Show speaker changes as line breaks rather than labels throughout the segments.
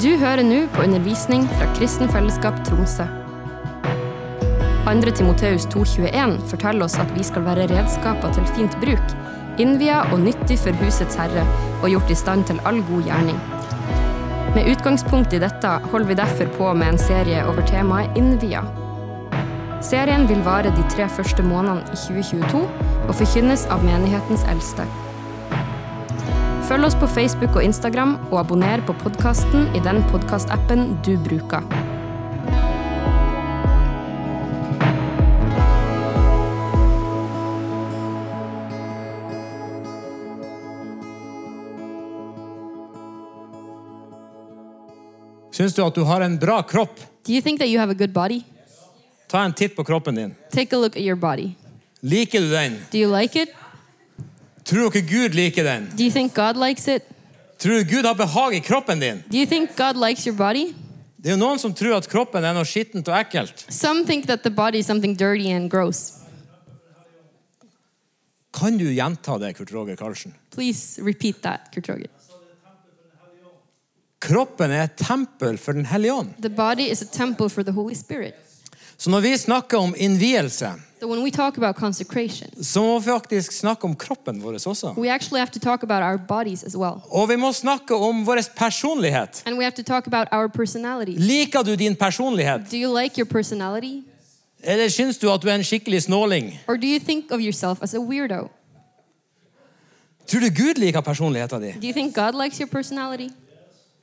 Du hører nå på undervisning fra Kristen Fellesskap Tromsø. 2. Timoteus 2,21 forteller oss at vi skal være redskaper til fint bruk, innvia og nyttig for husets herre og gjort i stand til all god gjerning. Med utgangspunkt i dette holder vi derfor på med en serie over temaet innvia. Serien vil vare de tre første månedene i 2022 og forkynnes av menighetens eldste. Følg oss på Facebook og Instagram, og abonner på podkasten i den podkastappen du bruker.
Syns du at du har en bra kropp?
Do you think that you have a good body?
Ta en titt på kroppen din.
Take a look at your body.
Liker du den?
Do you like it?
Tror dere Gud liker den?
Do you think God likes it?
Tror du Gud har behag i kroppen din?
Do you think God likes your body?
Det er jo noen som tror at kroppen er noe skittent og ekkelt.
Some think that the body is something dirty and gross.
Kan du gjenta det, Kurt Roger Karlsen?
Please repeat that, Kurt Roger.
Kroppen er et tempel for Den hellige ånd.
The body is a temple for the Holy Spirit.
Så når vi snakker om innvielse,
So when we talk about consecration,
så må vi faktisk snakke om kroppen vår også.
we actually have to talk about our bodies as well.
Og vi må snakke om vår personlighet.
And we have to talk about our personality.
Liker du din personlighet?
Do you like your personality?
Eller syns du at du er en skikkelig snåling?
Or do you think of yourself as a weirdo?
Tror du Gud liker personligheten din?
Do you think God likes your personality?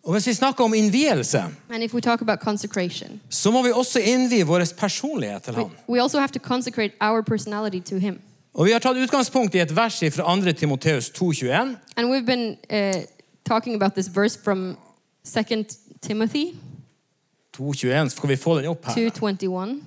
Og hvis vi snakker om innvielse,
And if we talk about consecration,
så må vi også innvie vår personlighet til
we,
ham.
we also have to consecrate our personality to Him.
Og Vi har tatt utgangspunkt i et vers fra 2. Timoteus 2,21.
And we've been uh, talking about this verse from 2 Timothy
2,21, så skal vi få den opp her.
2:21.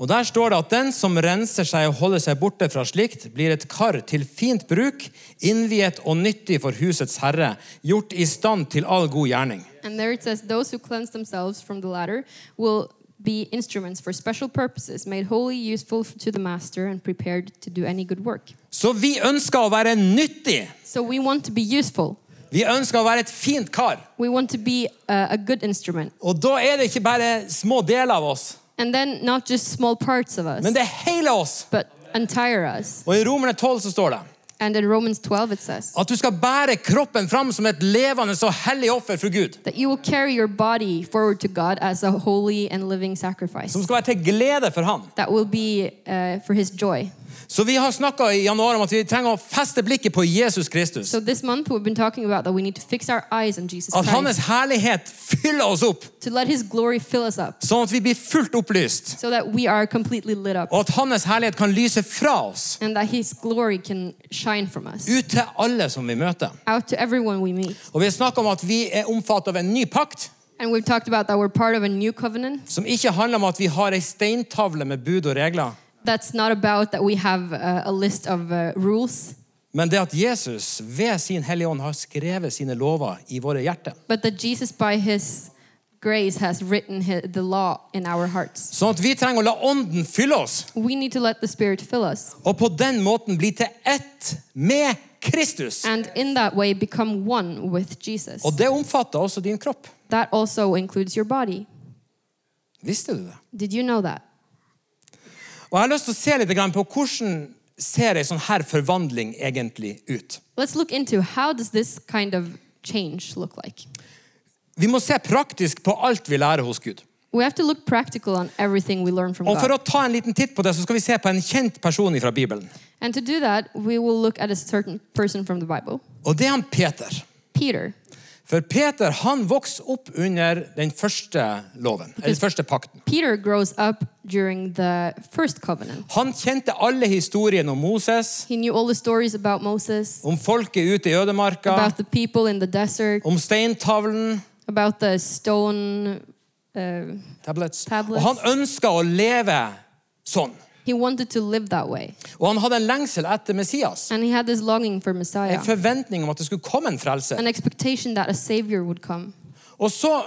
Og Der står det at den som renser seg og holder seg borte fra slikt, blir et kar til fint bruk, innviet og nyttig for husets herre, gjort i stand til all god gjerning.
And there it says, "Those who cleanse themselves from the latter will be instruments for special purposes, made wholly useful to the master and prepared to do any good work."
Så vi ønsker å være nyttig.
So we want to be useful.
Vi ønsker å være et fint kar.
We want to be uh, a, a good instrument.
Og da er det ikke bare små deler av oss,
And then not just small parts of us,
men det er hele oss.
but entire us.
Og I Romerne 12 så står det
And in Romans 12 it says
at du skal bære kroppen fram som et levende og hellig offer for Gud.
that you will carry your body forward to God as a holy and living sacrifice.
Som skal være til glede for Han.
that will be uh, for his joy.
Så vi har snakka i januar om at vi trenger å feste blikket på Jesus Kristus.
So this month we've been talking about that we need to fix our eyes on Jesus
At
Christ
Hans herlighet fyller oss opp,
to let his glory fill us up
sånn at vi blir fullt opplyst.
so that we are completely lit up
Og at Hans herlighet kan lyse fra oss
and that his glory can shine from us
ut til alle som vi møter.
out to everyone we meet.
Og vi har snakka om at vi er omfattet av en ny pakt
And we've talked about that we're part of a new covenant
som ikke handler om at vi har ei steintavle med bud og regler,
that's not about that we have uh, a list of uh, rules
men det at Jesus ved sin Hellige Ånd har skrevet sine lover i våre hjerter.
but that Jesus by his grace has written hi- the law in our hearts.
Sånn at vi trenger å la Ånden fylle oss,
We need to let the spirit fill us
og på den måten bli til ett med Kristus.
and in that way become one with Jesus.
Og det omfatter også din kropp.
That also includes your body.
Visste du det?
Did you know that?
Og Jeg har lyst til å se litt grann på hvordan ser ei sånn her forvandling egentlig ut.
Let's look into how does this kind of change look like?
Vi må se praktisk på alt vi lærer hos Gud.
We have to look practical on everything we learn from
Og For
God.
å ta en liten titt på det, så skal vi se på en kjent person fra Bibelen.
And to do that, we will look at a certain person from the Bible,
Og det er han Peter.
Peter.
For Peter han vokste opp under den første loven, eller den første pakten.
Peter grows up during the first covenant.
Han kjente alle historiene om Moses,
He knew all the stories about Moses,
om folket ute i ødemarka,
about the people in the desert,
om steintavlen.
about the stone. Uh,
Tablets.
Tablets.
Og han ønska å leve sånn.
he wanted to live that way.
Og han hadde en lengsel etter Messias.
And he had this longing for Messiah,
En forventning om at det skulle komme en frelse.
an expectation that a savior would come.
Og så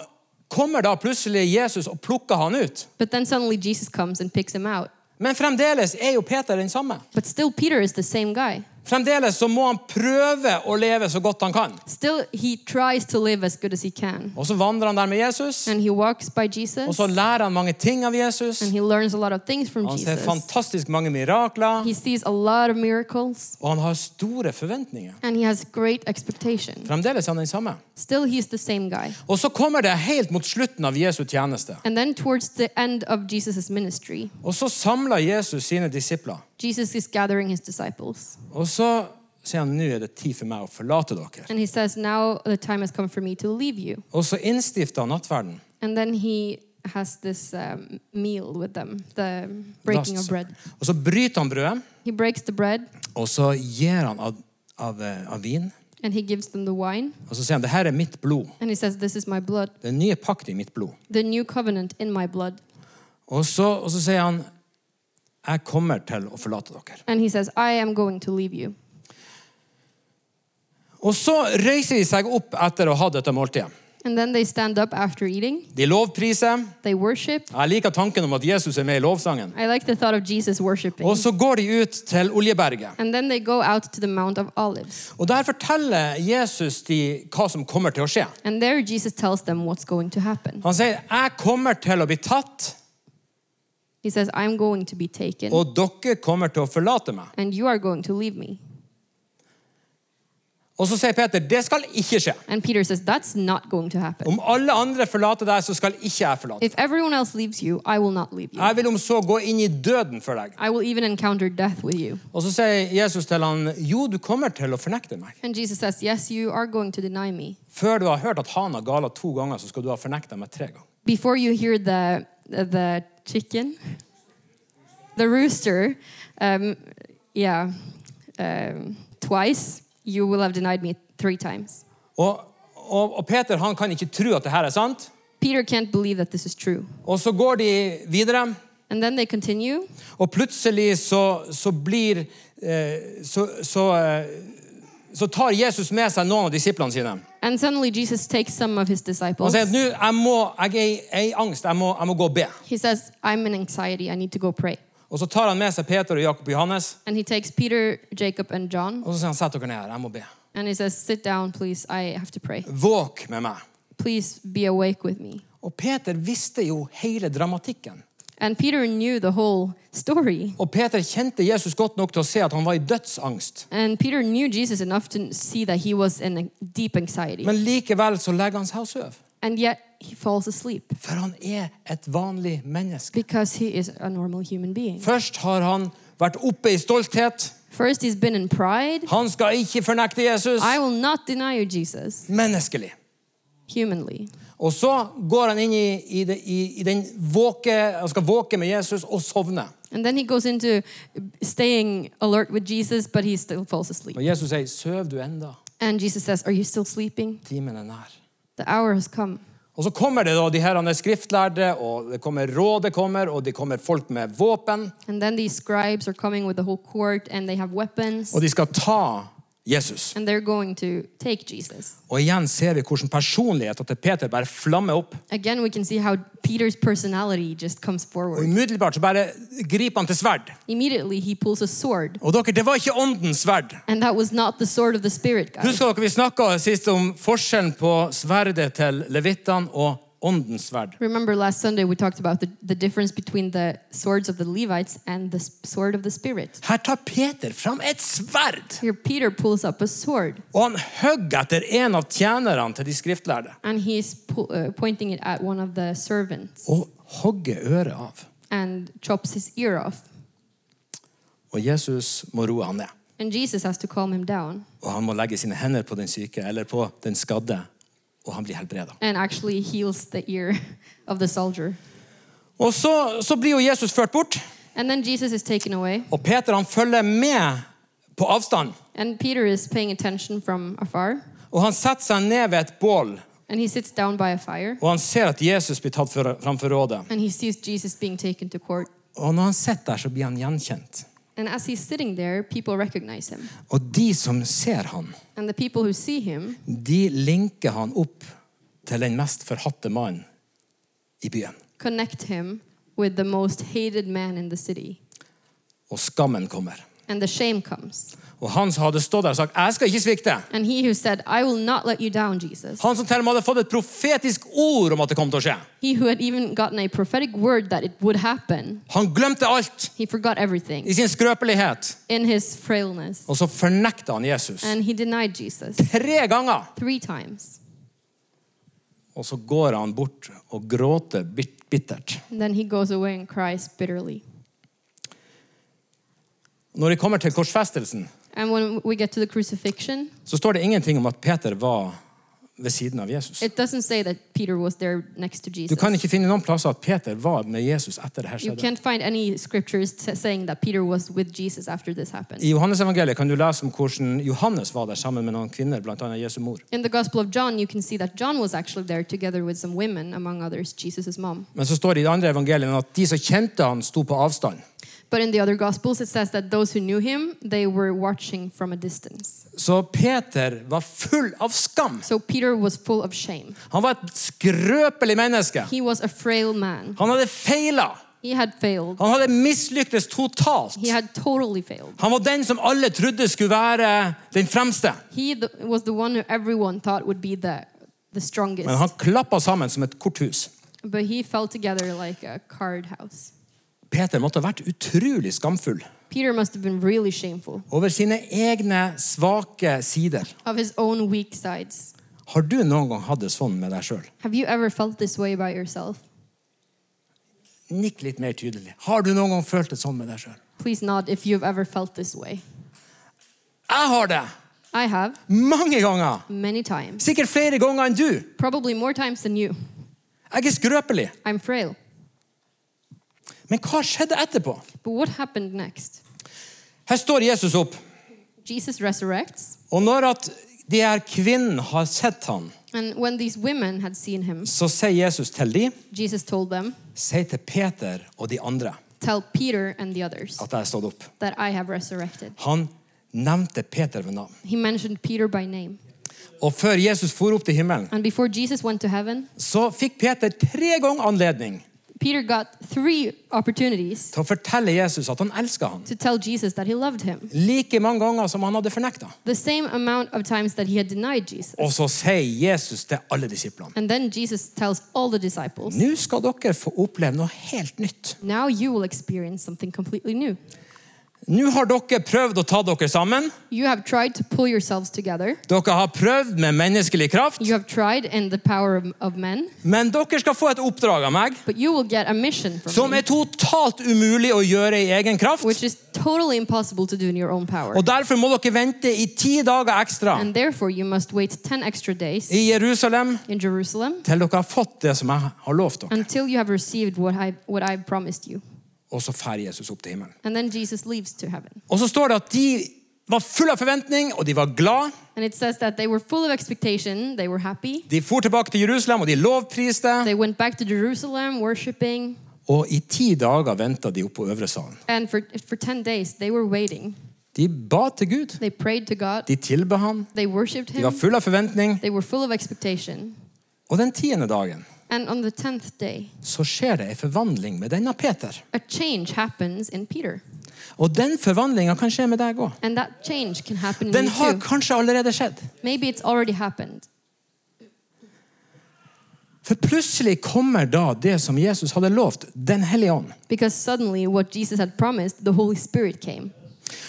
kommer da plutselig Jesus og plukker han ut.
But then suddenly Jesus comes and picks him out.
Men fremdeles er jo Peter den samme.
But still, Peter is the same guy.
Fremdeles så må han prøve å leve så godt han kan.
Still, he tries to live as good as he can.
Og så vandrer han der med Jesus,
And he walks by
og
Jesus,
så lærer han mange ting av Jesus.
and he learns a lot of things from
Han ser
Jesus.
fantastisk mange mirakler,
He sees a lot of miracles,
og han har store forventninger.
and he has great expectation.
Fremdeles er han den samme.
Still, he's the same guy.
Og så kommer det helt mot slutten av Jesu tjeneste.
And then, towards the end of Jesus' ministry,
Og så samler Jesus sine disipler.
Jesus is gathering his disciples.
Og så sier han nå er det tid for meg å forlate dere.
And he says, Now the time has come for me to leave you.
Og så innstifter han nattverden.
And then he has this um, meal with them, the breaking of
Last Supper.
bread.
Og så bryter han brødet,
He breaks the bread
og så gir han av, av, eh, av vin.
and he gives them the wine.
Og så sier han det her er mitt blod.
And he says, This is my blood,
Det er nye pakt i mitt blod.
the new covenant in my blood.
Og så, og så sier han jeg kommer til å forlate dere.
And he says, I am going to leave you.
Og så reiser de seg opp etter å ha dette måltidet.
And then they stand up after eating,
De lovpriser.
they worship.
Jeg liker tanken om at Jesus er med i lovsangen.
I like the thought of Jesus worshiping.
Og så går de ut til Oljeberget.
and then they go out to the Mount of Olives.
Og der forteller Jesus de hva som kommer til å skje.
And there Jesus tells them what's going to happen.
Han sier, jeg kommer til å bli tatt,
He says, I'm going to be taken,
og dere kommer til å forlate meg.
and you are going to leave me.
Og så sier Peter, det skal ikke skje.
And Peter says, That's not going to happen.
Om alle andre forlater deg, så skal ikke jeg forlate.
If everyone else leaves you, I will not leave you.
Jeg vil om så gå inn i døden for deg.
I will even encounter death with you.
Og så sier Jesus til han, jo, du kommer til å fornekte meg.
And Jesus says, Yes, you are going to deny me.
Før du har hørt at han har gala to ganger, så skal du ha fornektet meg tre ganger.
Before you hear the, the chicken, the rooster, um, yeah, um, twice, you will have denied me three times.
Og, og, og Peter, han kan ikke tro at det her er sant.
Peter can't believe that this is true.
Og så går de videre,
And then they continue,
og plutselig så, så blir eh, så, så, eh, så tar Jesus med seg noen av disiplene sine.
and suddenly Jesus takes some of his
Han
disciples.
sier at nå, jeg, må- jeg er i, jeg er i angst, jeg må, jeg må gå og be.
He says, I'm in anxiety, I need to go pray.
Og så tar han med seg Peter og Jakob og Johannes,
And he takes Peter, Jacob, and John,
og så sier han, sett dere ned her, jeg må be.
and he says, Sit down, please, I have to pray.
Våk med meg.
Please be awake with me.
Og Peter visste jo hele dramatikken.
And Peter knew the whole story.
Og Peter kjente Jesus godt nok til å se at han var i dødsangst.
And Peter knew Jesus enough to see that he was in a deep anxiety.
Men likevel så legger han seg og sover.
And yet he falls asleep
For han er et vanlig menneske.
because he is a normal human being.
Først har han vært oppe i stolthet.
First, he's been in pride.
Han skal ikke fornekte Jesus.
I will not deny you, Jesus,
Menneskelig.
humanly.
Og så går han inn i, i, det, i, i den våke, han skal våke med Jesus og sovne.
And then he goes into staying alert with Jesus, but he still falls asleep.
Og Jesus sier, søv du enda,
And Jesus says, Are you still sleeping?
timen er nær.
The hour has come.
Og så kommer det da de her han er skriftlærde, og det kommer rådet kommer, og det kommer folk med våpen,
And then these scribes are coming with the whole court and they have weapons
og de skal ta Jesus.
and they're going to take Jesus.
Og igjen ser vi hvordan personligheten til Peter bare flammer opp.
Again, we can see how Peter's personality just comes
Og
forward.
umiddelbart så bare griper han til sverd.
Immediately, he pulls a sword.
Og dere, det var ikke åndens sverd.
And that was not the sword of the Spirit, guys.
Husker dere vi snakka sist om forskjellen på sverdet til levittene og åndens sverd?
Remember last Sunday, we talked about the, the difference between the swords of the Levites and the s- sword of the Spirit.
Her tar Peter fram et sverd,
Here, Peter pulls up a sword
og han hogger etter en av tjenerne til de skriftlærde.
and he's pu- uh, pointing it at one of the servants
Og hogger øret av.
and chops his ear off.
Og Jesus må roe han ned.
And Jesus has to calm him down.
Og han må legge sine hender på den syke eller på den skadde, og han blir helbreda.
and actually heals the ear of the soldier.
Og så, så blir jo Jesus ført bort.
And then Jesus is taken away,
Og Peter han følger med på avstand,
and Peter is paying attention from afar,
og han setter seg ned ved et bål,
and he sits down by a fire,
og han ser at Jesus blir tatt for- framfor rådet.
and he sees Jesus being taken to court.
Og når han sitter der, så blir han gjenkjent.
And as he's sitting there, people recognize him.
Og de som ser han,
And the people who see him,
de linker han opp til den mest forhatte mannen i byen.
connect him with the most hated man in the city.
Og skammen kommer.
and the shame comes.
Og han som hadde stått der og sagt, 'Jeg skal ikke svikte',
And he who said, I will not let you down, Jesus,
han som til og med hadde fått et profetisk ord om at det kom til å skje,
he who had even gotten a prophetic word that it would happen,
han glemte alt
he forgot everything
i sin skrøpelighet.
in his frailness.
Og så fornekta han Jesus
And he denied Jesus
tre ganger.
three times.
Og så går han bort og gråter bit- bittert.
And then he goes away and cries bitterly.
Når de kommer til korsfestelsen,
And when we get to the crucifixion,
så står det ingenting om at Peter var ved siden av Jesus.
it doesn't say that Peter was there next to
Du
Jesus.
kan ikke finne noen plasser at Peter var med Jesus etter det her
You
skjedde.
can't find any scriptures t- saying that Peter was with Jesus after this happened.
I Johannesevangeliet kan du lese om hvordan Johannes var der sammen med noen kvinner, bl.a. Jesu mor.
In the Gospel of John, you can see that John was actually there together with some women, among others, Jesus' mom.
Men så står det i de andre evangeliene at de som kjente han, sto på avstand.
But in the other Gospels, it says that those who knew him, they were watching from a distance.
Så Peter var full av skam.
So Peter was full of shame.
Han var et skrøpelig menneske.
He was a frail man.
Han hadde feila.
He had failed.
Han hadde mislyktes totalt.
He had totally failed.
Han var den som alle trodde skulle være den fremste.
He th- was the one who everyone thought would be the, the strongest.
Men han klappa sammen som et korthus.
But he fell together like a card house.
Peter måtte ha vært utrolig skamfull
Peter must have been really shameful
over sine egne svake sider.
of his own weak sides.
Har du noen gang hatt det sånn med deg sjøl?
Have you ever felt this way about yourself?
Nikk litt mer tydelig. Har du noen gang følt det sånn med deg sjøl?
Please nod if you've ever felt this way.
Jeg har det!
I have
Mange ganger.
many times,
Sikkert flere ganger enn du.
probably more times than you.
Jeg er skrøpelig.
I'm frail.
Men hva skjedde etterpå?
But what happened next?
Her står Jesus opp.
Jesus resurrects,
Og når at de her kvinnene har sett han,
and when these women had seen him,
så sier Jesus til de,
Jesus told them,
si til Peter og de andre
Tell Peter and the others
at jeg er stått opp.
that I have resurrected.
Han nevnte Peter ved navn.
He mentioned Peter by name.
Og før Jesus for opp til himmelen,
And before Jesus went to heaven,
så fikk Peter tre ganger anledning
Peter got three opportunities
til å fortelle Jesus at han elska han.
to tell Jesus that he loved him,
Like mange ganger som han hadde fornekta.
the same amount of times that he had denied Jesus.
Og så sier Jesus til alle disiplene
And then Jesus tells all the disciples,
Nå skal dere få oppleve noe helt nytt.
Now you will experience something completely new.
Nå har dere prøvd å ta dere sammen.
You have tried to pull yourselves together.
Dere har prøvd med menneskelig kraft.
You have tried in the power of, of men,
Men dere skal få et oppdrag av meg
but you will get a mission from
som
me,
er totalt umulig å gjøre i egen kraft.
which is totally impossible to do in your own power.
Og derfor må dere vente i ti dager ekstra
And therefore, you must wait 10 extra days
i Jerusalem
in Jerusalem
til dere har fått det som jeg har lovt dere.
until you have received what I, what I promised you.
Og så drar Jesus opp til himmelen.
And then Jesus leaves to heaven.
Og så står det at de var fulle av forventning, og de var glad.
And it says that they were full of expectation, they were happy.
De for tilbake til Jerusalem, og de lovpriste.
They went back to Jerusalem worshiping,
Og i ti dager venta de opp på Øvre salen.
and for, for 10 days they were waiting.
De ba til Gud.
They prayed to God,
De tilba han.
they worshiped
De var
Him,
fulle av forventning.
they were full of expectation.
Og den tiende dagen
And on the 10th day,
så skjer det ei forvandling med denne Peter.
a change happens in Peter.
Og den forvandlinga kan skje med deg òg.
And that change can happen in
Den
you
har
too.
kanskje allerede skjedd.
Maybe it's already happened.
For plutselig kommer da det som Jesus hadde lovt, Den hellige ånd.
Because suddenly, what Jesus had promised, the Holy Spirit came.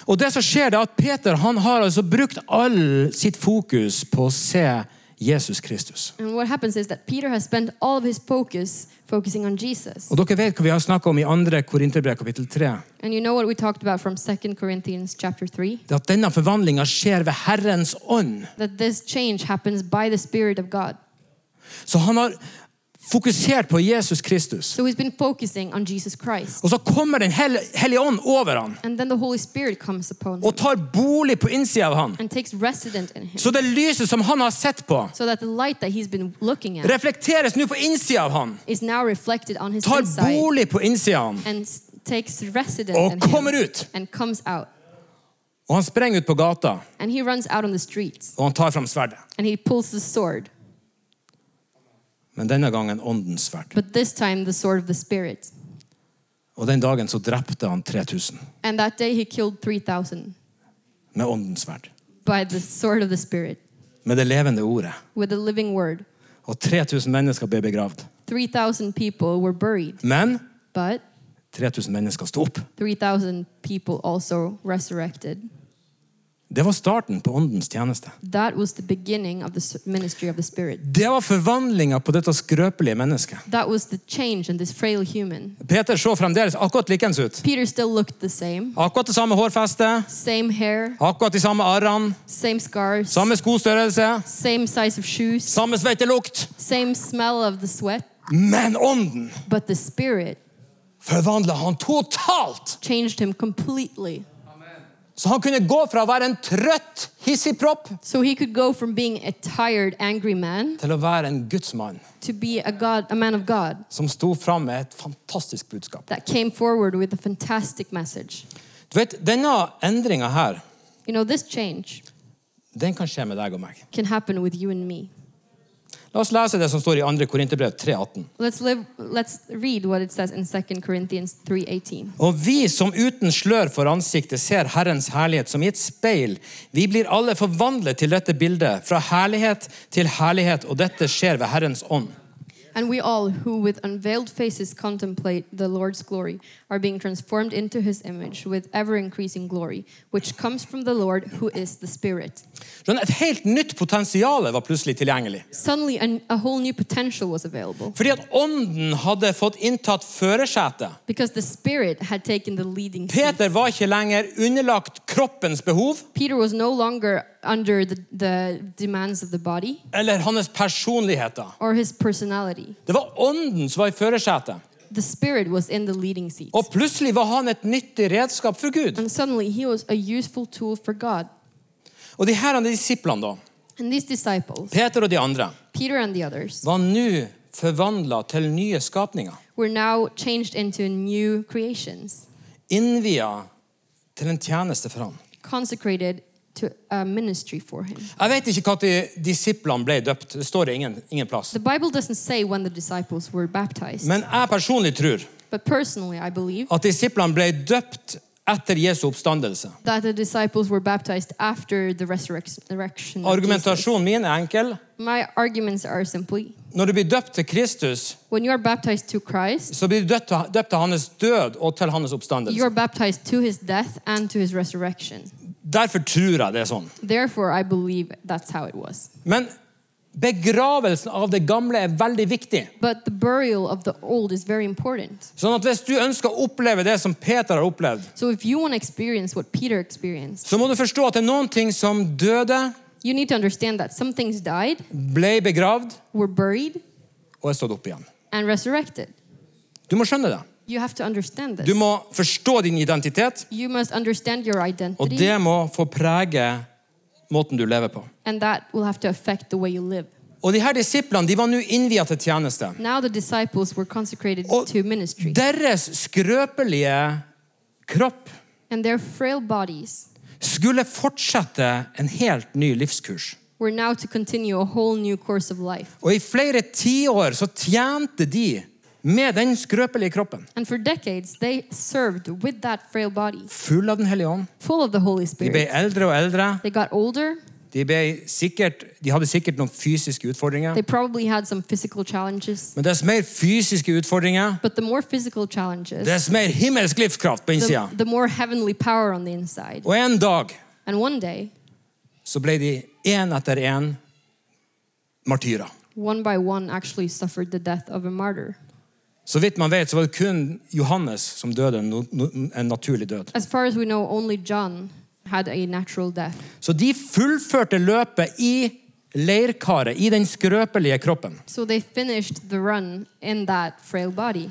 Og det som skjer, det er at Peter han har altså brukt all sitt fokus på å se Jesus Kristus.
And what happens is that Peter has spent all of his focus focusing on Jesus.
Og dere vet hva vi har snakka om i 2. Korinterbrev kapittel 3.
And you know what we talked about from 2 Corinthians chapter 3?
Det er at denne forvandlinga skjer ved Herrens ånd.
That this change happens by the Spirit of God.
Så han har fokusert på Jesus Kristus.
So he's been focusing on Jesus Christ.
Og så kommer Den hell- hellige ånd over han
And then the Holy Spirit comes upon him
og tar bolig på innsida av han.
and takes resident in him.
Så det lyset som han har sett på,
So that the light that he's been looking at
reflekteres nå på innsida av han.
is now reflected on his
Tar
inside
bolig på innsida av han.
and s- takes resident
Og
in
kommer
him
ut.
and comes out.
Og han sprenger ut på gata,
And he runs out on the streets
og han tar fram sverdet.
and he pulls the sword.
Men denne gangen åndens sverd.
But this time, the sword of the Spirit.
Og den dagen så drepte han 3000
And that day he killed 3,000
med åndens sverd.
by the sword of the Spirit,
Med det levende ordet.
with a living word.
Og 3000 mennesker ble begravd.
3,000 people were buried,
Men
but
3000 mennesker sto opp.
3,000 people also resurrected.
Det var starten på åndens tjeneste.
That was the beginning of the s- ministry of the Spirit.
Det var forvandlinga på dette skrøpelige mennesket.
That was the change in this frail human.
Peter så fremdeles akkurat likens ut.
Peter still looked the same
Akkurat det samme hårfestet,
same hair,
akkurat de samme arrene,
same scars,
samme skostørrelse,
same size of shoes,
samme sveitelukt.
same smell of the sweat.
Men ånden
But the Spirit
forvandla han totalt!
changed him completely.
Så han kunne gå fra å være en trøtt hissigpropp
So he could go from being a tired, angry man
til å være en gudsmann
to be a God, a man of God
som sto fram med et fantastisk budskap.
that came forward with a fantastic message.
Du vet, Denne endringa her,
You know, this change
den kan skje med deg og meg.
can happen with you and me.
La oss lese det som står i 2. Korinterbrev 3,18.
Let's live let's read what it says in 2 Corinthians 3:18.
Og vi som uten slør for ansiktet ser Herrens herlighet som i et speil, vi blir alle forvandlet til dette bildet, fra herlighet til herlighet, og dette skjer ved Herrens ånd.
And we all who with unveiled faces contemplate the Lord's glory are being transformed into his image with ever increasing glory, which comes from the Lord who is the Spirit.
Skjønner, Et helt nytt potensial var plutselig tilgjengelig.
Suddenly an, a whole new potential was available
Fordi at ånden hadde fått inntatt førersetet.
because the Spirit had taken the leading seat.
Peter var ikke lenger underlagt kroppens behov
Peter was no longer under the, the demands of the body
eller hans personligheter.
or his personality.
Det var ånden som var i førersetet.
The Spirit was in the leading seat.
Og plutselig var han et nyttig redskap for Gud.
And suddenly he was a useful tool for God.
Og de her disiplene, da,
And these disciples,
Peter og de andre,
Peter and the others,
var nå forvandla til nye skapninger.
were now changed into new creations,
Innvia til en tjeneste for han.
consecrated to a ministry for him.
Jeg vet ikke når de disiplene ble døpt. Det står det ingen, ingen plass.
The Bible doesn't say when the disciples were baptized,
Men jeg personlig tror
but personally I believe
at disiplene ble døpt etter Jesu oppstandelse.
that the disciples were baptized after the resurrection. resurrection of Jesus.
Argumentasjonen min er enkel.
My arguments are simply
Når du blir døpt til Kristus,
when you are baptized to Christ,
så blir du døpt, til- døpt til hans død og til hans
you
oppstandelse.
are baptized to his death and to his resurrection.
Derfor tror jeg det er sånn.
Therefore, I believe that's how it was.
Men begravelsen av det gamle er veldig viktig.
But the burial of the old is very important.
Sånn at hvis du ønsker å oppleve det som Peter har opplevd,
So if you want to experience what Peter experienced,
så må du forstå at det er noen ting som døde,
you need to understand that some things died,
ble begravd
were buried,
og er stått opp igjen.
and resurrected.
Du må skjønne det.
You have to understand
Du
this.
må forstå din identitet,
You must understand your
og det er-
identity,
må få prege måten du lever på.
and that will have to affect the way you live.
Og de her disiplene de var nå innviet til tjeneste.
Now the disciples were consecrated
Og
to ministry,
deres skrøpelige kropp
and their frail bodies
skulle fortsette en helt ny livskurs.
were now to continue a whole new course of life.
Og i flere tiår så tjente de med den skrøpelige kroppen.
And for decades, they served with that frail body,
Full av Den hellige ånd.
full of the Holy
De ble
Spirit.
eldre og eldre.
They got older,
De, ble sikkert, de hadde sikkert noen fysiske utfordringer.
they probably had some physical challenges.
Men dess mer fysiske utfordringer,
But the more physical challenges,
dess mer himmelsk livskraft på innsida.
the, the more heavenly power on the inside.
Og en dag
And one day,
så ble de én etter én martyrer.
one by one, actually suffered the death of a martyr.
Så vidt man vet, så var det kun Johannes som døde en, no- no- en naturlig død.
As far as we know, only John had a natural death.
Så de fullførte løpet i leirkaret, i den skrøpelige kroppen.
So they finished the run in that frail body.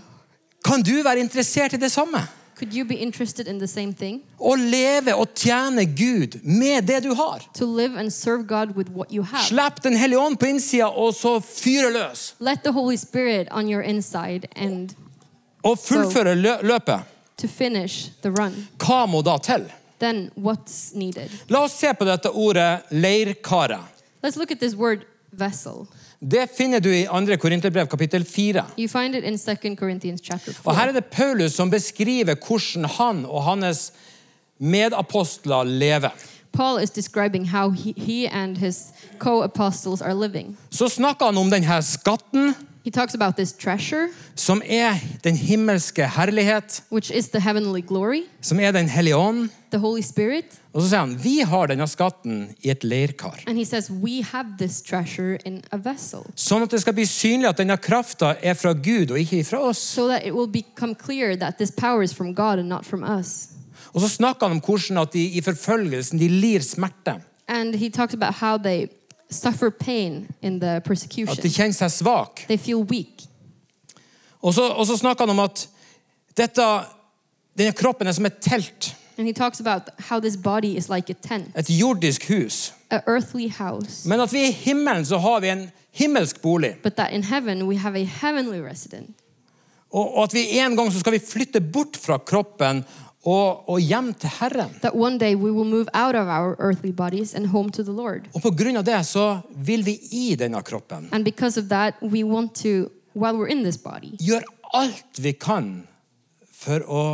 Kan du være interessert i det samme?
Could you be interested in the same thing?
Å leve og tjene Gud med det du har?
To live and serve God with what you have.
Slipp Den hellige ånd på innsida, og så fyre løs.
Let the Holy Spirit on your inside and
Og fullføre lø løpet.
to finish the run.
Hva må da til?
Then what's needed?
La oss se på dette ordet leirkaret.
Let's look at this word vessel.
Det finner du i 2. Korinterbrev kapittel 4.
You find it in 2 Corinthians chapter
Og
4.
her er det Paulus som beskriver hvordan han og hans medapostler lever.
Paul is describing how he, he and his co apostles are living.
Så snakker han om denne skatten,
He talks about this treasure,
som er den himmelske herlighet,
which is the heavenly glory,
som er Den hellige ånd.
the Holy Spirit.
Og så sier han vi har denne skatten i et leirkar.
And he says, We have this treasure in a vessel,
Sånn at det skal bli synlig at denne krafta er fra Gud og ikke fra oss.
so that it will become clear that this power is from God and not from us.
Og så snakker han om hvordan at de i forfølgelsen de lir smerte.
And he talks about how they suffer pain in the
At de
persecution,
kjenner seg svak.
they feel weak.
Og så, og så snakker han om at dette, denne kroppen er som et telt.
And he talks about how this body is like a tent,
Et jordisk hus.
an earthly house,
Men at vi i himmelen så har vi en himmelsk bolig.
but that in heaven we have a heavenly resident.
Og, og at vi en gang så skal vi flytte bort fra kroppen og, og hjem til Herren.
that one day we will move out of our earthly bodies and home to the Lord.
Og på grunn av det så vil vi i denne kroppen
And because of that, we want to, while we're in this body,
gjøre alt vi kan for å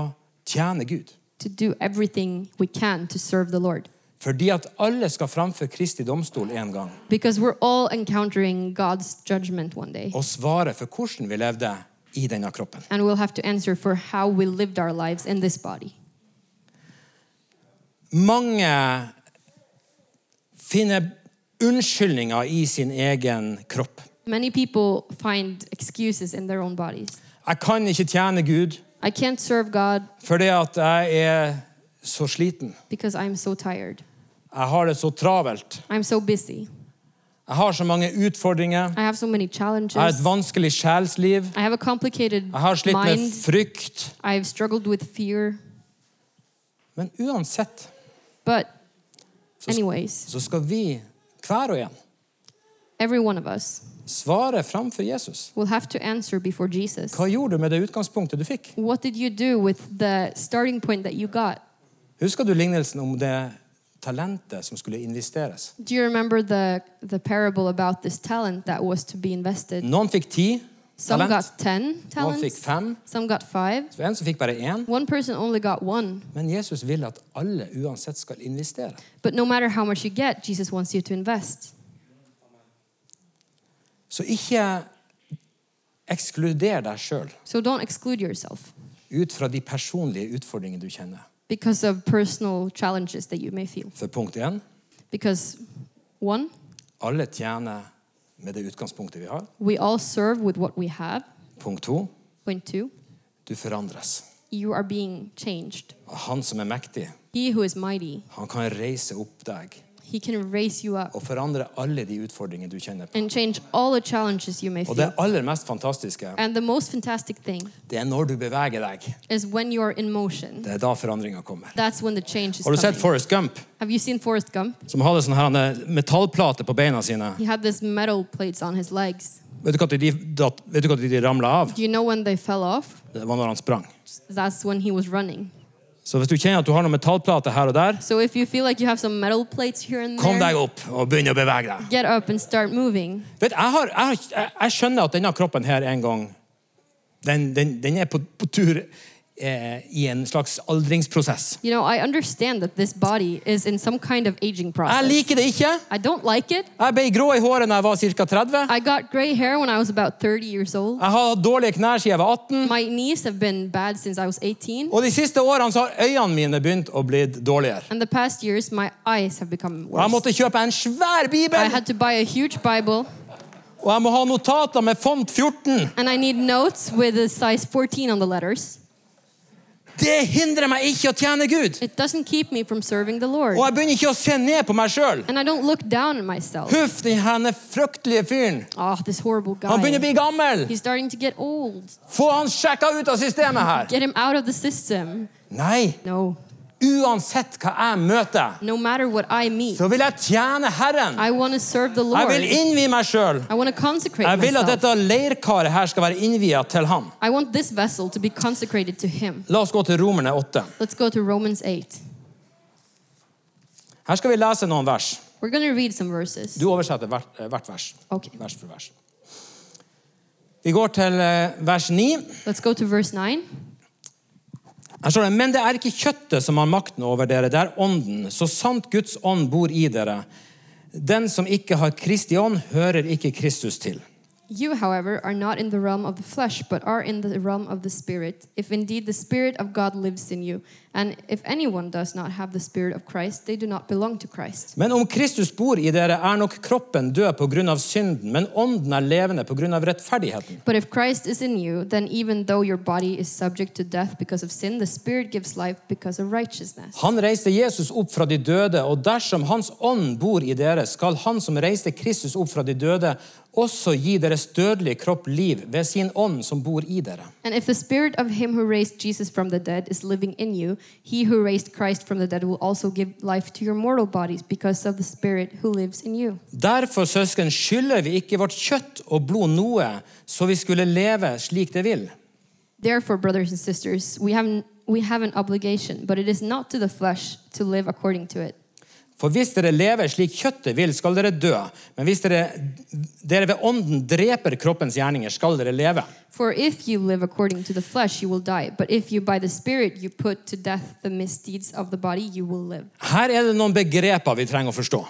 tjene Gud.
to do everything we can to serve the Lord.
Fordi at alle skal framfor Kristi domstol en gang.
Because we're all encountering God's judgment one day.
og svare for hvordan vi levde i denne kroppen.
And we'll have to answer for how we lived our lives in this body.
Mange finner unnskyldninger i sin egen kropp.
Many people find excuses in their own bodies.
Jeg kan ikke tjene Gud
I can't serve God
fordi at jeg er så sliten.
because I'm so tired.
Jeg har det så travelt.
I'm so busy.
Jeg har så mange utfordringer.
I have so many
Jeg har et
challenges.
vanskelig sjelsliv.
I have a complicated
Jeg har slitt med
mind.
frykt.
I've struggled with fear.
Men uansett
But,
Så-
anyways,
så skal vi, hver og en,
every one of us
svare framfor Jesus.
will have to answer before Jesus.
Hva gjorde du med det utgangspunktet du fikk?
What did you do with the starting point that you got?
Husker du lignelsen om det talentet som skulle investeres?
Do you remember the, the parable about this talent that was to be invested?
Noen fikk ti
Some
Mm. talent,
got 10
noen fikk
talents,
fem,
some got 5.
så en som fikk bare én.
One person only got one.
Men Jesus vil at alle uansett skal investere.
But no matter how much you get, Jesus wants you to invest.
Så ikke ekskluder deg sjøl
So don't exclude yourself
ut fra de personlige utfordringene du kjenner.
because of personal challenges that you may feel.
For punkt én
Because, one,
alle tjener med det utgangspunktet vi har.
we all serve with what we have.
Punkt to
Point two,
du forandres.
you are being changed.
Og han som er mektig,
He who is mighty,
han kan reise opp deg
he can raise you up
og forandre alle de utfordringene du kjenner på.
and change all the challenges you may
Og det
feel.
aller mest fantastiske
And the most fantastic thing
Det er når du beveger deg.
is when you're in motion.
Det er da forandringa kommer.
That's when the change is
Har du sett
coming.
Forrest Gump,
Have you seen Forrest Gump?
som hadde sånne her eh, metallplater på beina sine?
He had this metal plates on his legs.
Vet du når de, datt- vet du hva de ramla av?
Do you know when they fell off?
Det var når han sprang.
That's when he was running.
Så hvis du kjenner at du har noen metallplater her og der,
So if you feel like you have some metal plates here and
kom deg
there,
opp og begynn å bevege deg.
get up and start moving.
Vet, jeg, har, jeg, har- jeg, jeg skjønner at denne kroppen her en gang Den, den, den er på, på tur eh, i en slags aldringsprosess.
You know, I understand that this body is in some kind of aging
Jeg
process.
liker det ikke.
I don't like it.
Jeg ble grå i håret da jeg var ca. 30.
I got gray hair when I was about 30 years old.
Jeg har hatt dårlige knær siden jeg var 18.
My knees have been bad since I was 18.
Og de siste årene så har øynene mine begynt å bli dårligere.
And the past years, my eyes have become
Og jeg
worse.
måtte kjøpe en svær
I
bibel,
had to buy a huge Bible,
og jeg må ha notater med font 14.
and I need notes with a size 14 on the letters.
Det hindrer meg ikke å tjene Gud.
It doesn't keep me from serving the Lord.
Og jeg begynner ikke å se ned på meg sjøl.
And I don't look down on myself.
Huff, den herne fryktelige fyren.
Oh, this horrible
Han begynner å
guy.
bli gammel.
He's starting to get old.
Få han sjekka ut av systemet her.
Get him out of the system.
Nei,
No,
uansett hva jeg møter,
no matter what I meet,
så vil jeg tjene Herren.
I want to serve the
Jeg vil
Lord.
innvie meg sjøl.
I want to consecrate
Jeg vil at
myself.
dette leirkaret her skal være innvia til ham.
I want this vessel to be consecrated to Him.
La oss gå til Romerne 8.
Let's go to Romans 8.
Her skal vi lese noen vers.
We're going to read some verses.
Du oversetter hvert, eh, hvert vers.
Ok.
Vers for vers. Vi går til eh, vers 9.
Let's go to verse 9.
Her står det, Men det er ikke kjøttet som har makten over dere, det er ånden. Så sant Guds ånd bor i dere. Den som ikke har Kristi ånd, hører ikke Kristus til.
You, however, are not in the realm of the flesh, but are in the realm of the Spirit, if indeed the Spirit of God lives in you. And if anyone does not have the Spirit of Christ, they do not belong to Christ.
Men om Kristus bor i dere, er nok kroppen død pga. synden, men ånden er levende pga. rettferdigheten.
But if Christ is in you, then even though your body is subject to death because of sin, the Spirit gives life because of righteousness.
Han reiste Jesus opp fra de døde, og dersom Hans ånd bor i dere, skal Han som reiste Kristus opp fra de døde, også gi deres dødelige kropp liv ved sin ånd som bor i dere.
And if the Spirit of Him who raised Jesus from the dead is living in you, He who raised Christ from the dead will also give life to your mortal bodies because of the Spirit who lives in you.
Derfor, søsken, skylder vi ikke vårt kjøtt og blod noe, så vi skulle leve slik det vil.
Therefore, brothers and sisters, we have, we have an obligation, but it is not to the flesh to live according to it.
For hvis dere lever slik kjøttet vil, skal dere dø. Men hvis dere, dere ved ånden dreper kroppens gjerninger, skal dere leve.
For if you live according to the flesh, you will die. But if you by the Spirit you put to death the misdeeds of the body, you will live.
Her er det noen begreper vi trenger å forstå.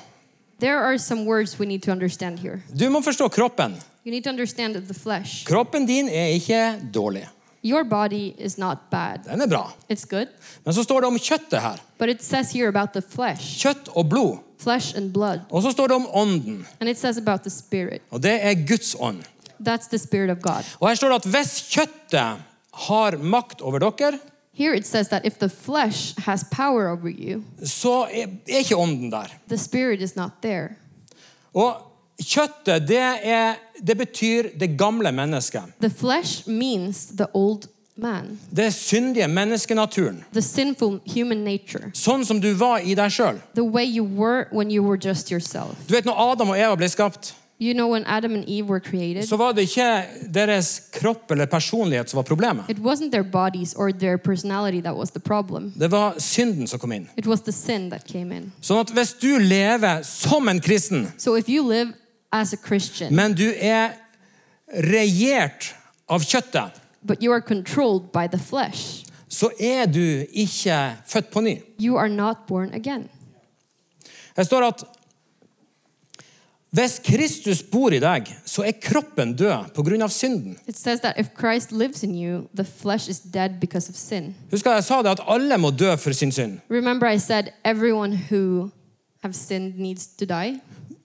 There are some words we need to understand here.
Du må forstå kroppen.
You need to understand that the flesh,
Kroppen din er ikke dårlig.
your body is not bad.
Den er bra.
It's good.
Men så står det om kjøttet her.
But it says here about the flesh,
Kjøtt og blod.
flesh and blood.
Og så står det om ånden.
And it says about the Spirit.
Og det er Guds ånd.
That's the Spirit of God.
Og her står det at hvis kjøttet har makt over dere,
Here it says that if the flesh has power over you,
så er er ikke ånden der.
the Spirit is not there.
Og kjøttet, det, er, det betyr det gamle mennesket.
The flesh means the old man,
Det syndige menneskenaturen.
the sinful human nature,
Sånn som du var i deg sjøl.
the way you were when you were just yourself.
Du vet, når Adam og Eva ble skapt,
You know, when Adam and Eve were created,
så var det ikke deres kropp eller personlighet som var problemet.
it wasn't their bodies or their personality that was the problem.
Det var synden som kom inn.
It was the sin that came in.
Sånn at hvis du lever som en kristen,
So if you live as a Christian,
men du er regjert av kjøttet,
but you are controlled by the flesh,
så er du ikke født på ny.
you are not born again.
Det står at hvis Kristus bor i deg, så er kroppen død pga. synden.
It says that if Christ lives in you, the flesh is dead because of sin.
Husk at jeg sa det at alle må dø for sin synd.
Remember, I said everyone who have sinned needs to die.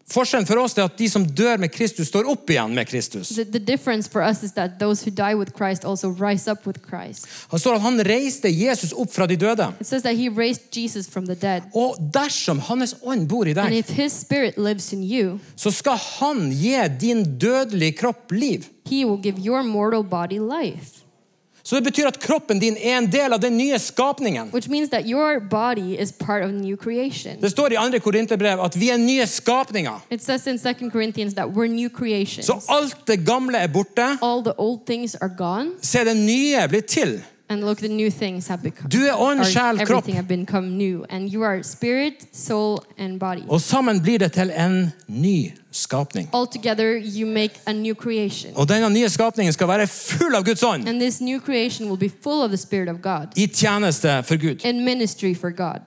Forskjellen for oss er at de som dør med Kristus, står opp igjen med Kristus.
The, the difference for us is that those who die with Christ also rise up with Christ.
Han står at han reiste Jesus opp fra de døde.
It says that he raised Jesus from the dead.
Og dersom Hans ånd bor
And
i deg,
if his spirit lives in you,
så skal han gi din dødelige kropp liv.
he will give your mortal body life.
Så det betyr at kroppen din er en del av den nye skapningen.
Which means that your body is part of new creation.
Det står i 2. Korinterbrev at vi er nye skapninger.
It says in 2 Corinthians that we're new creations.
Så alt det gamle er borte.
All the old things are gone,
Se, det nye blir til.
and look, the new things have become.
Du er ånd,
or
sjel, kropp.
everything have become new, and you are spirit, soul, and body.
Og sammen blir det til en ny skapning.
Altogether, you make a new creation.
Og denne nye skapningen skal være full av Guds ånd
And this new creation will be full of the Spirit of God
i tjeneste for Gud.
in ministry for God.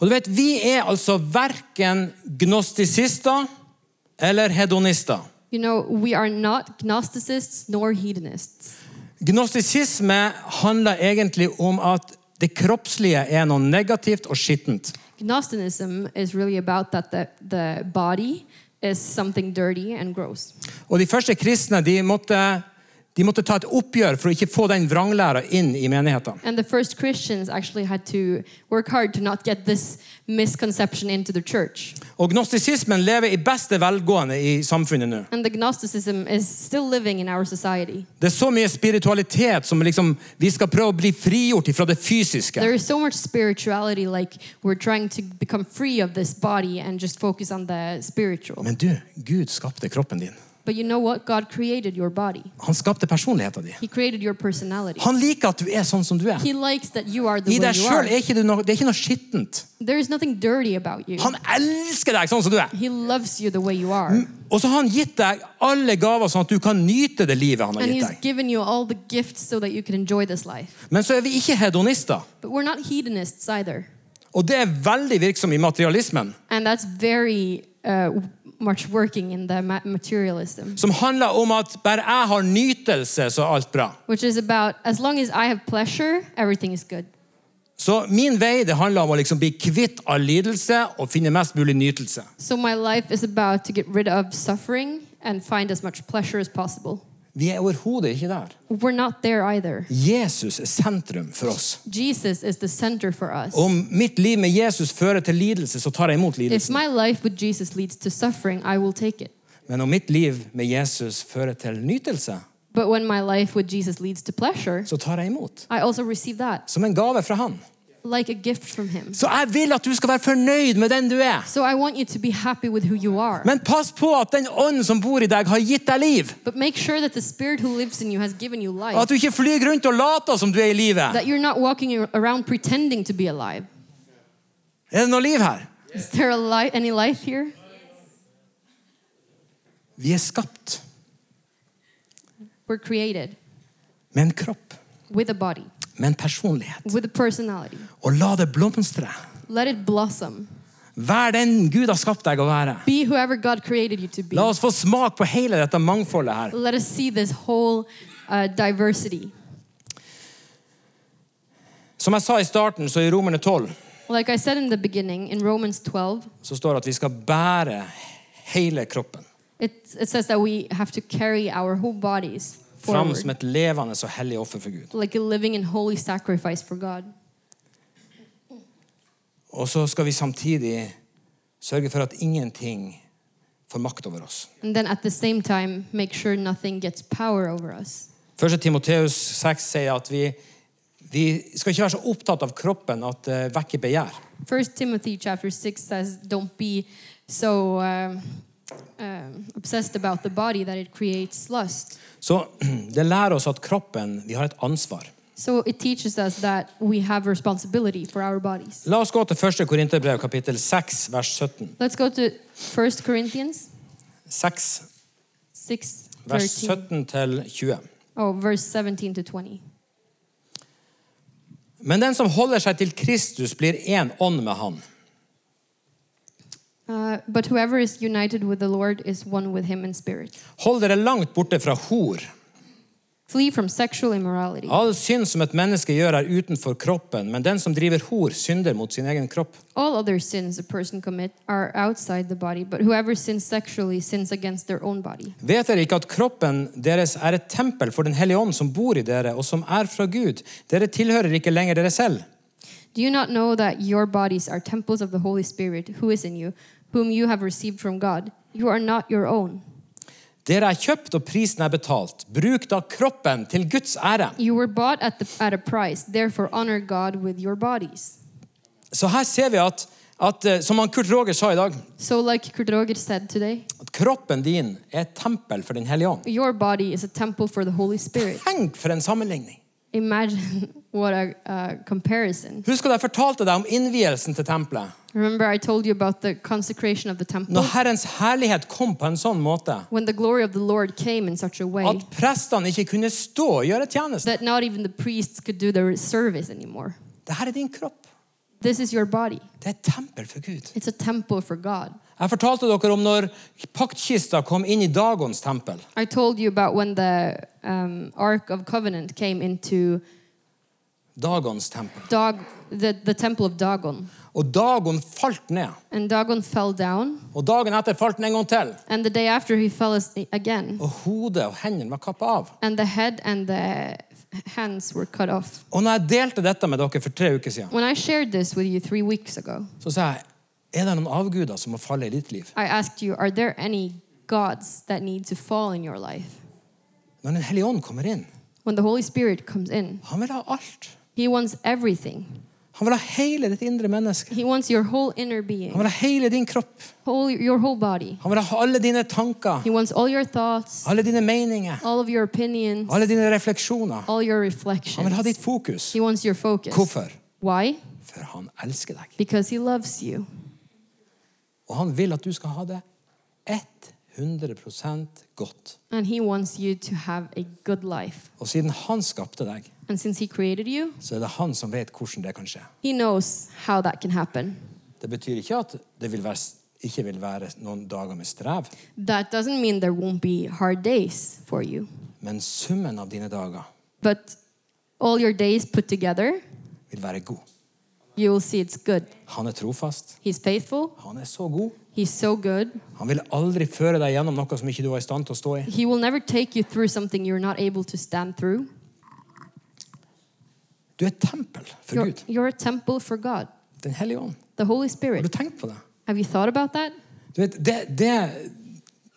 Og du vet, Vi er altså verken gnostisister eller hedonister.
You know, we are not Gnosticists nor hedonists.
Gnostisisme handler egentlig om at det kroppslige er noe negativt og skittent.
Gnosticism is really about that the, the body is something dirty and gross.
Og De første kristne de måtte, de måtte ta et oppgjør for å ikke få den vranglæra inn i menighetene.
And the first Christians actually had to work hard to not get this misconception into the church.
Og Gnostisismen lever i beste velgående i samfunnet nå.
And the Gnosticism is still living in our society.
Det er så mye spiritualitet som liksom, vi skal prøve å bli frigjort fra det fysiske.
There is so much spirituality, like we're trying to become free of this body and just focus on the spiritual.
Men du, Gud skapte kroppen din.
But you know what? God created your body.
Han skapte personligheten din.
He created your personality.
Han liker at du er sånn som du er.
He likes that you are the
I
way
deg
you
sjøl
are.
er ikke du noe, det er ikke noe skittent.
There is nothing dirty about you.
Han elsker deg sånn som du er.
He loves you the way you are.
Og så har han gitt deg alle gaver sånn at du kan nyte det livet han har
And
gitt
he's
deg.
given you all the gifts so that you can enjoy this life.
Men så er vi ikke hedonister.
But we're not hedonists either.
Og det er veldig virksom i materialismen.
And that's very uh, much working in the ma- materialism,
Som handler om at bare jeg har nytelse, så er alt bra.
which is about as long as I have pleasure, everything is good.
Så min vei det handler om å liksom bli kvitt all lidelse og finne mest mulig nytelse.
So my life is about to get rid of suffering and find as much pleasure as possible.
Vi er overhodet ikke der.
We're not there either.
Jesus er sentrum for oss.
Jesus is the center for us.
Om mitt liv med Jesus fører til lidelse, så tar jeg imot
If
lidelsen.
my life with Jesus leads to suffering, I will take it.
Men om mitt liv med Jesus fører til nytelse,
But when my life with Jesus leads to pleasure,
så tar jeg imot.
I also receive that,
Som en gave fra han.
like a gift from Him.
Så jeg vil at du skal være fornøyd med den du er.
So I want you to be happy with who you are.
Men pass på at den ånden som bor i deg, har gitt deg liv.
But make sure that the Spirit who lives in you has given you life.
At du ikke flyr rundt og later som du er i livet.
That you're not walking ar- around pretending to be alive.
Er det noe liv her?
Is there a li- any life here?
Vi er skapt
We're created
med en kropp,
with a body,
med en personlighet.
with a personality.
Og la det blomstre.
Let it blossom.
Vær den Gud har skapt deg å være.
Be whoever God created you to be.
La oss få smak på hele dette mangfoldet her.
Let us see this whole uh, diversity.
Som jeg sa i starten, så i Romerne 12
Like I said in the beginning, in Romans 12,
så står det at vi skal bære hele kroppen
it, it says that we have to carry our whole bodies
fram
forward,
som et levende og hellig offer for Gud.
like a living and holy sacrifice for God.
Og så skal vi samtidig sørge for at ingenting får makt over oss.
And then at the same time, make sure nothing gets power over us.
Første Timoteus 6 sier at vi, vi skal ikke være så opptatt av kroppen at det vekker begjær.
First Timothy chapter 6 says, don't be so um, um, obsessed about the body that it creates lust.
Så det lærer oss at kroppen Vi har et ansvar.
So it teaches us that we have responsibility for our bodies.
La oss gå til 1. Korinterbrev kapittel 6, vers 17.
Let's go to 1 Corinthians
6,
6,
vers
13.
17 til 20.
Oh, verse 17 to 20.
Men den som holder seg til Kristus, blir én ånd med han.
Uh, but whoever is united with the Lord is one with him in spirit.
Hold dere langt borte fra hor.
Flee from sexual immorality.
All synd som et menneske gjør, er utenfor kroppen, men den som driver hor, synder mot sin egen kropp.
All other sins a person commit are outside the body, but whoever sins sexually sins against their own body.
Vet dere ikke at kroppen deres er et tempel for Den hellige ånd som bor i dere, og som er fra Gud? Dere tilhører ikke lenger dere selv.
Do you not know that your bodies are temples of the Holy Spirit who is in you, whom you have received from God? You are not your own.
Dere er kjøpt, og prisen er betalt. Bruk da kroppen til Guds ære.
You were bought at, the, at a price, therefore honor God with your bodies.
Så her ser vi at, at eh, som han Kurt Roger sa i dag,
So, like Kurt Roger said today,
at kroppen din er et tempel for Den hellige ånd.
your body is a temple for the Holy Spirit.
Tenk for en sammenligning!
Imagine what a uh, comparison.
Husk at jeg fortalte deg om innvielsen til tempelet.
Remember, I told you about the consecration of the temple.
Når Herrens herlighet kom på en sånn måte
When the glory of the Lord came in such a way
at prestene ikke kunne stå og gjøre tjeneste.
that not even the priests could do their service anymore.
Dette er din kropp.
This is your body,
Det er et tempel for Gud.
it's a temple for God.
Jeg fortalte dere om når paktkista kom inn i Dagons tempel.
I told you about when the um, Ark of Covenant came into
Dagons tempel.
Dog, the, the temple of Dagon.
Og Dagon falt ned.
And Dagon fell down,
Og dagen etter falt den en gang til.
and the day after he fell as- again,
Og hodet og hendene var kappa av.
and the head and the hands were cut off.
Og når jeg delte dette med dere for tre uker siden,
When I shared this with you three weeks ago,
så sa jeg er det noen avguder som må falle i ditt liv?
I asked you, Are there any gods that need to fall in your life?
Når Den hellige ånd kommer inn,
When the Holy Spirit comes in,
han vil ha alt.
He wants everything.
Han vil ha hele ditt indre menneske.
He wants your whole inner
Han
being,
vil ha hele din kropp.
whole, your whole body.
Han vil ha alle dine tanker,
He wants all your thoughts,
alle dine meninger,
all of your opinions,
alle dine refleksjoner.
all your
Han vil ha ditt
reflections.
fokus.
He wants your focus.
Hvorfor?
Why?
For han elsker deg.
Because he loves you.
Og han vil at du skal ha det 100 godt.
And he wants you to have a good life.
Og siden han skapte deg,
And since he created you,
så er det han som vet hvordan det kan skje.
he knows how that can happen.
Det betyr ikke at det vil være, ikke vil være noen dager med strev,
That doesn't mean there won't be hard days for you.
men summen av dine dager
But all your days put together,
vil være god.
you will see it's good.
Han er trofast.
He's faithful.
Han er så god.
He's so good.
Han vil aldri føre deg gjennom noe som ikke du var i stand til å stå i.
He will never take you through something you're not able to stand through.
Du er et tempel for
You're,
Gud.
you're a temple for God,
Den hellige ånd.
the Holy
Har du
Spirit.
tenkt på det?
Have you thought about that?
Du vet, det, det,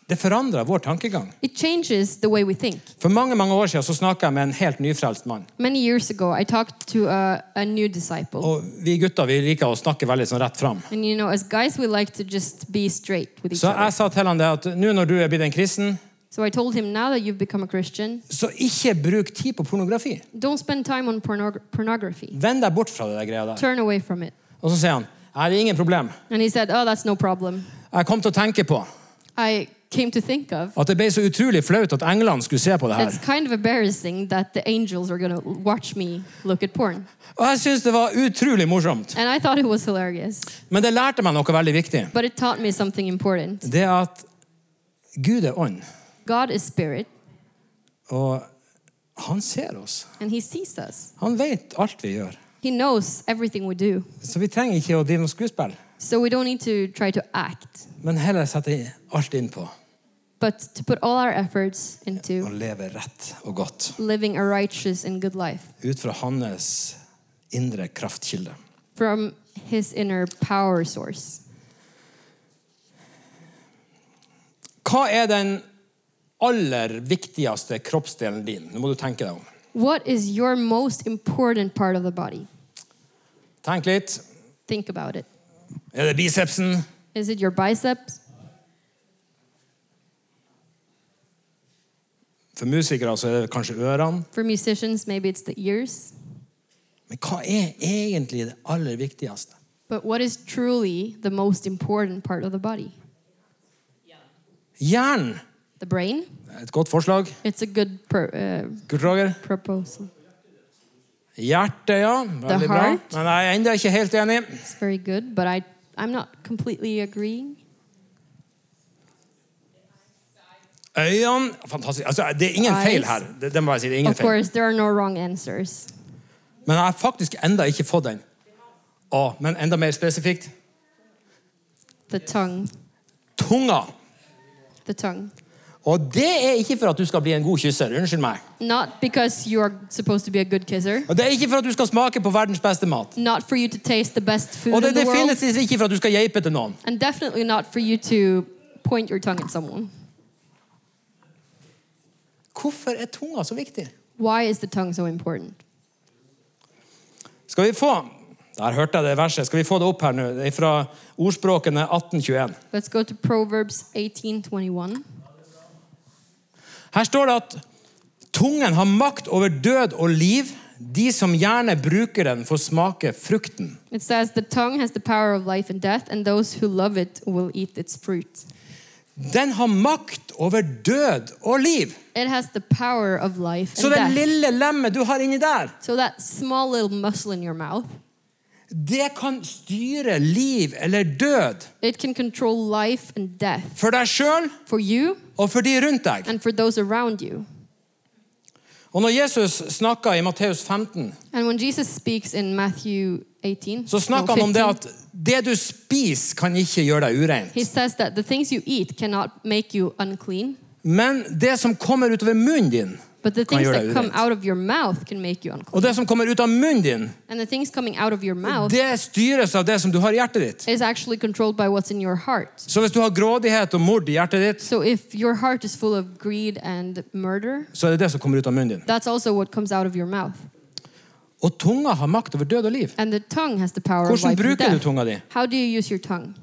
det forandrer vår tankegang.
It changes the way we think.
For mange mange år siden så snakket jeg med en helt nyfrelst mann.
Many years ago, I talked to a, a new disciple.
Og vi gutter vi liker å snakke veldig sånn rett fram.
And you know, as guys, we like to just be straight with each
Så
other.
jeg sa til han det at nå når du er blitt en kristen,
So I told him, now that you've become a Christian,
så ikke bruk tid på pornografi.
don't spend time on pornog- pornography.
Vend deg bort fra det der greia der.
Turn away from it.
Og så sier han nei, det er ingen problem.
And he said, oh, that's no problem.
Jeg kom til å tenke på
I came to think of,
at det ble så utrolig flaut at England skulle se på det her.
it's kind of embarrassing that the angels are going to watch me look at porn.
Og jeg syns det var utrolig morsomt.
And I thought it was hilarious.
Men det lærte meg noe veldig viktig.
But it taught me something important.
Det er at Gud er ånd,
God is spirit,
og han ser oss.
and he sees us.
Han vet alt vi gjør.
He knows everything we do.
Så vi trenger ikke å drive noe skuespill,
So we don't need to try to act,
men heller sette alt inn på
but to put all our efforts into
å leve rett og godt
living a righteous and good life
ut fra hans indre kraftkilde.
from his inner power source.
Hva er den aller viktigste kroppsdelen din? Nå må du tenke deg om.
What is your most important part of the body?
Tenk litt.
Think about it.
Er det bicepsen?
Is it your biceps?
For musikere så er det kanskje ørene.
For musicians, maybe it's the ears.
Men hva er egentlig det aller viktigste?
But what is truly the most important part of the body?
Hjernen.
The brain?
Et godt forslag.
It's a good pro- uh,
Kurt Roger.
proposal.
Hjertet, ja. Veldig
The
bra.
heart.
Men jeg er ennå ikke helt enig.
It's very good, but I, I'm not completely agreeing.
Øynene. Fantastisk. Altså, det er ingen
Eyes.
feil her. Det, det må jeg si. Det er ingen
Of
feil.
course, there are no wrong answers.
Men jeg har faktisk enda ikke fått den. Å, men enda mer spesifikt.
The tongue.
Tunga.
The tongue.
Og det er ikke for at du skal bli en god kysser. Unnskyld meg.
Not because you are supposed to be a good kisser.
Og Det er ikke for at du skal smake på verdens beste mat.
Not for you to taste the best food
Og det
in
er
the world.
definitivt ikke for at du skal geipe til noen.
And definitely not for you to point your tongue at someone.
Hvorfor er tunga så viktig?
Why is the tongue so important?
Skal vi få Der hørte jeg det verset. Skal vi få det opp her nå? Det er fra ordspråkene 1821.
Let's go to Proverbs 18:21.
Her står det at tungen har makt over død og liv. De som gjerne bruker den, får smake frukten.
It says, "The tongue has the power of life and death, and those who love it will eat its fruit."
Den har makt over død og liv.
It has the power of life
Så
and
det
death.
lille lemmet du har inni der,
So that small little muscle in your mouth,
det kan styre liv eller død
it can control life and death
for deg sjøl
for you
og for de rundt deg.
and for those around you.
Og når Jesus snakka i Matteus 15,
And when Jesus speaks in Matthew 18,
så
no,
snakka han om det
15,
at det du spiser, kan ikke gjøre deg urein.
he says that the things you eat cannot make you unclean,
Men det som kommer utover munnen din,
but the
kan
things
gjøre
that
deg
come
urein.
out of your mouth can make you unclean.
Og det som kommer ut av munnen din,
And the things coming out of your mouth
det styres av det som du har i hjertet ditt.
is actually controlled by what's in your heart.
Så hvis du har grådighet og mord i hjertet ditt,
So if your heart is full of greed and murder,
så er det det som kommer ut av munnen din.
that's also what comes out of your mouth.
Og tunga har makt over død og liv.
And the tongue has the power of life
Hvordan
and
bruker du
death.
tunga di?
How do you use your tongue?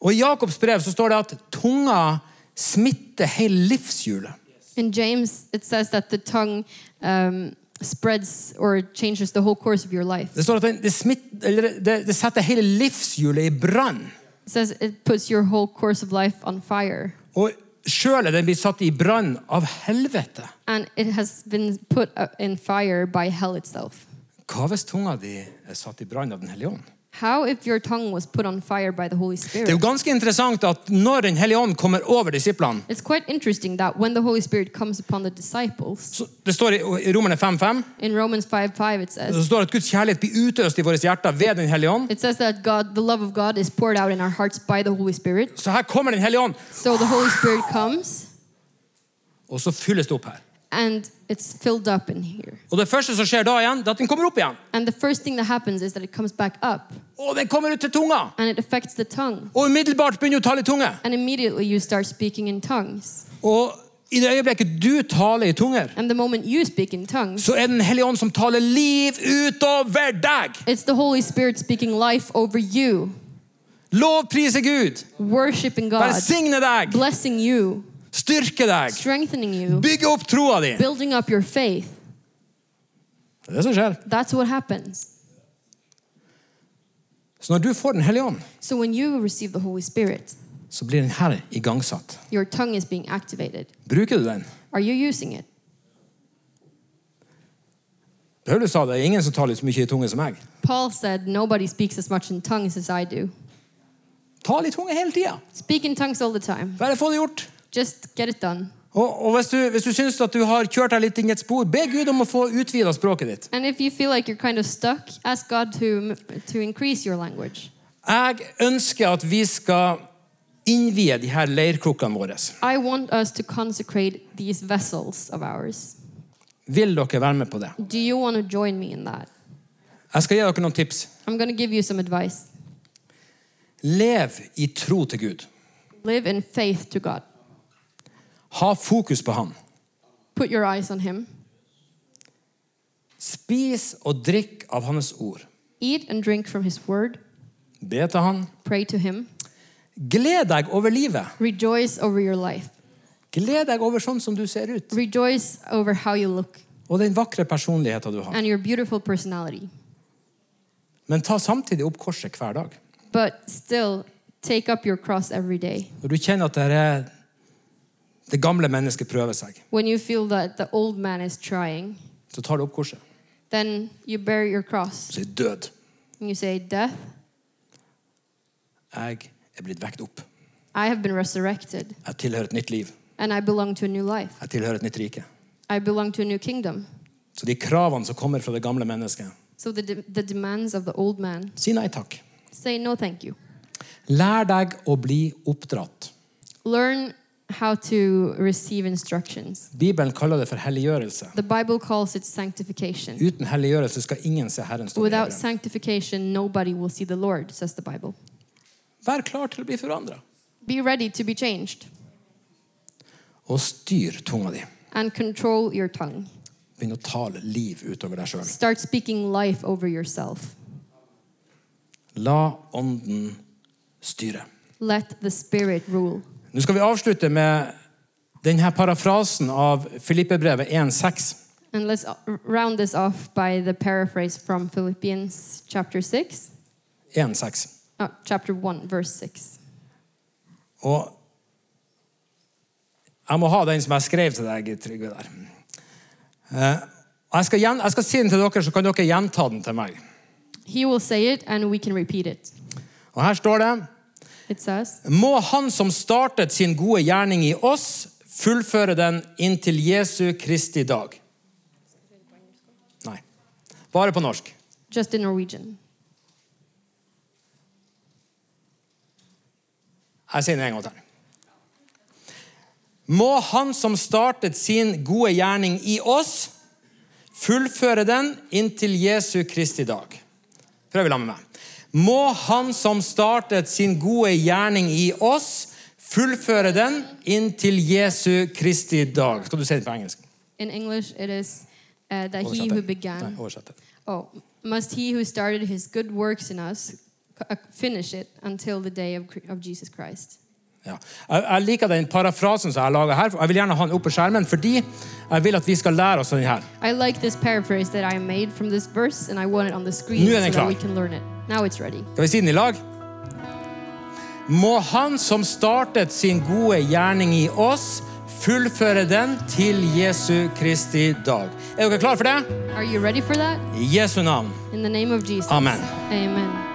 Og i Jakobs brev så står det at tunga smitter hele livshjulet.
In James, it says that the tongue um, spreads or changes the whole course of your life.
Det står at den- det, smitt- eller det, det setter hele livshjulet i brann.
It says it puts your whole course of life on fire.
Og sjøl er den blitt satt i brann av helvete.
And it has been put uh, in fire by hell itself.
Hva hvis tunga di er satt i brann av Den hellige ånd?
How if your tongue was put on fire by the Holy
Det er jo
Spirit?
ganske interessant at når Den hellige ånd kommer over disiplene
It's quite interesting that when the Holy Spirit comes upon the disciples,
så Det står i i Romerne 5.5
in Romans 5 5, it
så
says,
står det at Guds kjærlighet blir utøst i våre hjerter ved Den hellige ånd.
it says that God, the love of God is poured out in our hearts by the Holy Spirit.
Så her kommer Den hellige ånd,
So the Holy Spirit comes
og så fylles det opp her.
and it's filled up in here.
Og det første som skjer da igjen, det er at den kommer opp igjen.
And the first thing that happens is that it comes back up
Og den kommer ut til tunga.
and it affects the tongue.
Og umiddelbart begynner du å tale i tunge.
And immediately you start speaking in tongues.
Og i det øyeblikket du taler i tunger,
And the moment you speak in tongues,
så er Den hellige ånd som taler liv utover deg.
it's the Holy Spirit speaking life over you,
Lovprise Gud.
worshiping God,
Velsigne deg.
blessing you,
Styrke deg.
strengthening you,
Bygge opp troa di.
building up your faith.
Det er det som skjer.
That's what happens.
Så når du får Den hellige ånd,
So when you receive the Holy Spirit,
så blir den her igangsatt.
your tongue is being activated.
Bruker du den?
Are you using it?
Paulus sa det er ingen som taler så mye i tunge som meg.
Paul said, Nobody speaks as much in tongues as I do.
Tal i tunge hele tida.
Speak in tongues all the time.
Bare få det gjort.
Just get it done.
Og, og hvis, du, hvis du syns at du har kjørt deg litt inn i et spor, be Gud om å få utvida språket ditt.
And if you feel like you're kind of stuck, ask God to to increase your language.
Jeg ønsker at vi skal innvie de her leirkrukkene våre.
I want us to consecrate these vessels of ours.
Vil dere være med på det?
Do you want to join me in that?
Jeg skal gi dere noen tips.
I'm going to give you some advice.
Lev i tro til Gud.
Live in faith to God.
Ha fokus på Han.
Put your eyes on Him.
Spis og drikk av Hans ord.
Eat and drink from His word.
Be til Han.
Pray to Him.
Gled deg over livet.
Rejoice over your life.
Gled deg over sånn som du ser ut.
Rejoice over how you look
Og den vakre personligheten du har.
and your beautiful personality.
Men ta samtidig opp korset hver dag.
But still, take up your cross every day.
Når du kjenner at det, er det gamle mennesket prøver seg,
When you feel that the old man is trying,
så tar du opp korset.
then you bear your cross.
Så er død.
And you say, Death,
Jeg er blitt vekt opp.
I have been resurrected,
Jeg tilhører et nytt liv.
and I belong to a new life.
Jeg tilhører et nytt rike.
I belong to a new kingdom.
Så de kravene som kommer fra det gamle mennesket,
So the, de- the demands of the old man
si nei takk.
say, No, thank you.
Lær deg å bli oppdratt.
Learn how to receive instructions.
Bibelen kaller det for helliggjørelse.
The Bible calls it sanctification.
Uten helliggjørelse skal ingen se Herren stå
Without sanctification, nobody will see the Lord, says the Bible.
Vær klar til å bli forandra.
Be ready to be changed
Og styr tunga di.
and control your tongue.
Begynn å tale liv utover deg sjøl.
Start speaking life over yourself.
La ånden styre.
Let the Spirit rule.
Nå skal vi avslutte med denne parafrasen av Filippebrevet 1,6.
And let's uh, r- round this off by the paraphrase from Philippians chapter 6,
1,6.
uh, chapter 1, verse 6.
Og jeg må ha den som jeg skrev til deg, Trygve, der. Eh, Jeg skal, gjen, jeg skal si den til dere, så kan dere gjenta den til meg.
He will say it and we can repeat it.
Og her står det
It says,
Må Han som startet sin gode gjerning i oss, fullføre den inntil Jesu Kristi dag. Nei. Bare på norsk.
just in Norwegian.
Jeg sier det en gang til. Må Han som startet sin gode gjerning i oss, fullføre den inntil Jesu Kristi dag. Prøv sammen med meg. Må Han som startet sin gode gjerning i oss, fullføre den inntil Jesu Kristi dag. Skal du si det på engelsk?
In English, it is, uh, that he who
Oversett det. Nei,
began
oversett det.
Oh, must he who started his good works in us c- uh, finish it until the day of, Cr- of Jesus Christ?
Ja. Jeg, jeg liker den parafrasen som jeg lager her. for Jeg vil gjerne ha den opp på skjermen, fordi jeg vil at vi skal lære oss den her.
I like this paraphrase that I made from this verse, and I want it on the screen
Nu är
so
den
that
klar.
we can learn it. Now it's ready.
Skal vi si den i lag? Må Han som startet sin gode gjerning i oss, fullføre den til Jesu Kristi dag. Er dere klare for det?
Are you ready for that?
I Jesu navn.
In the name of Jesus.
Amen.
Amen.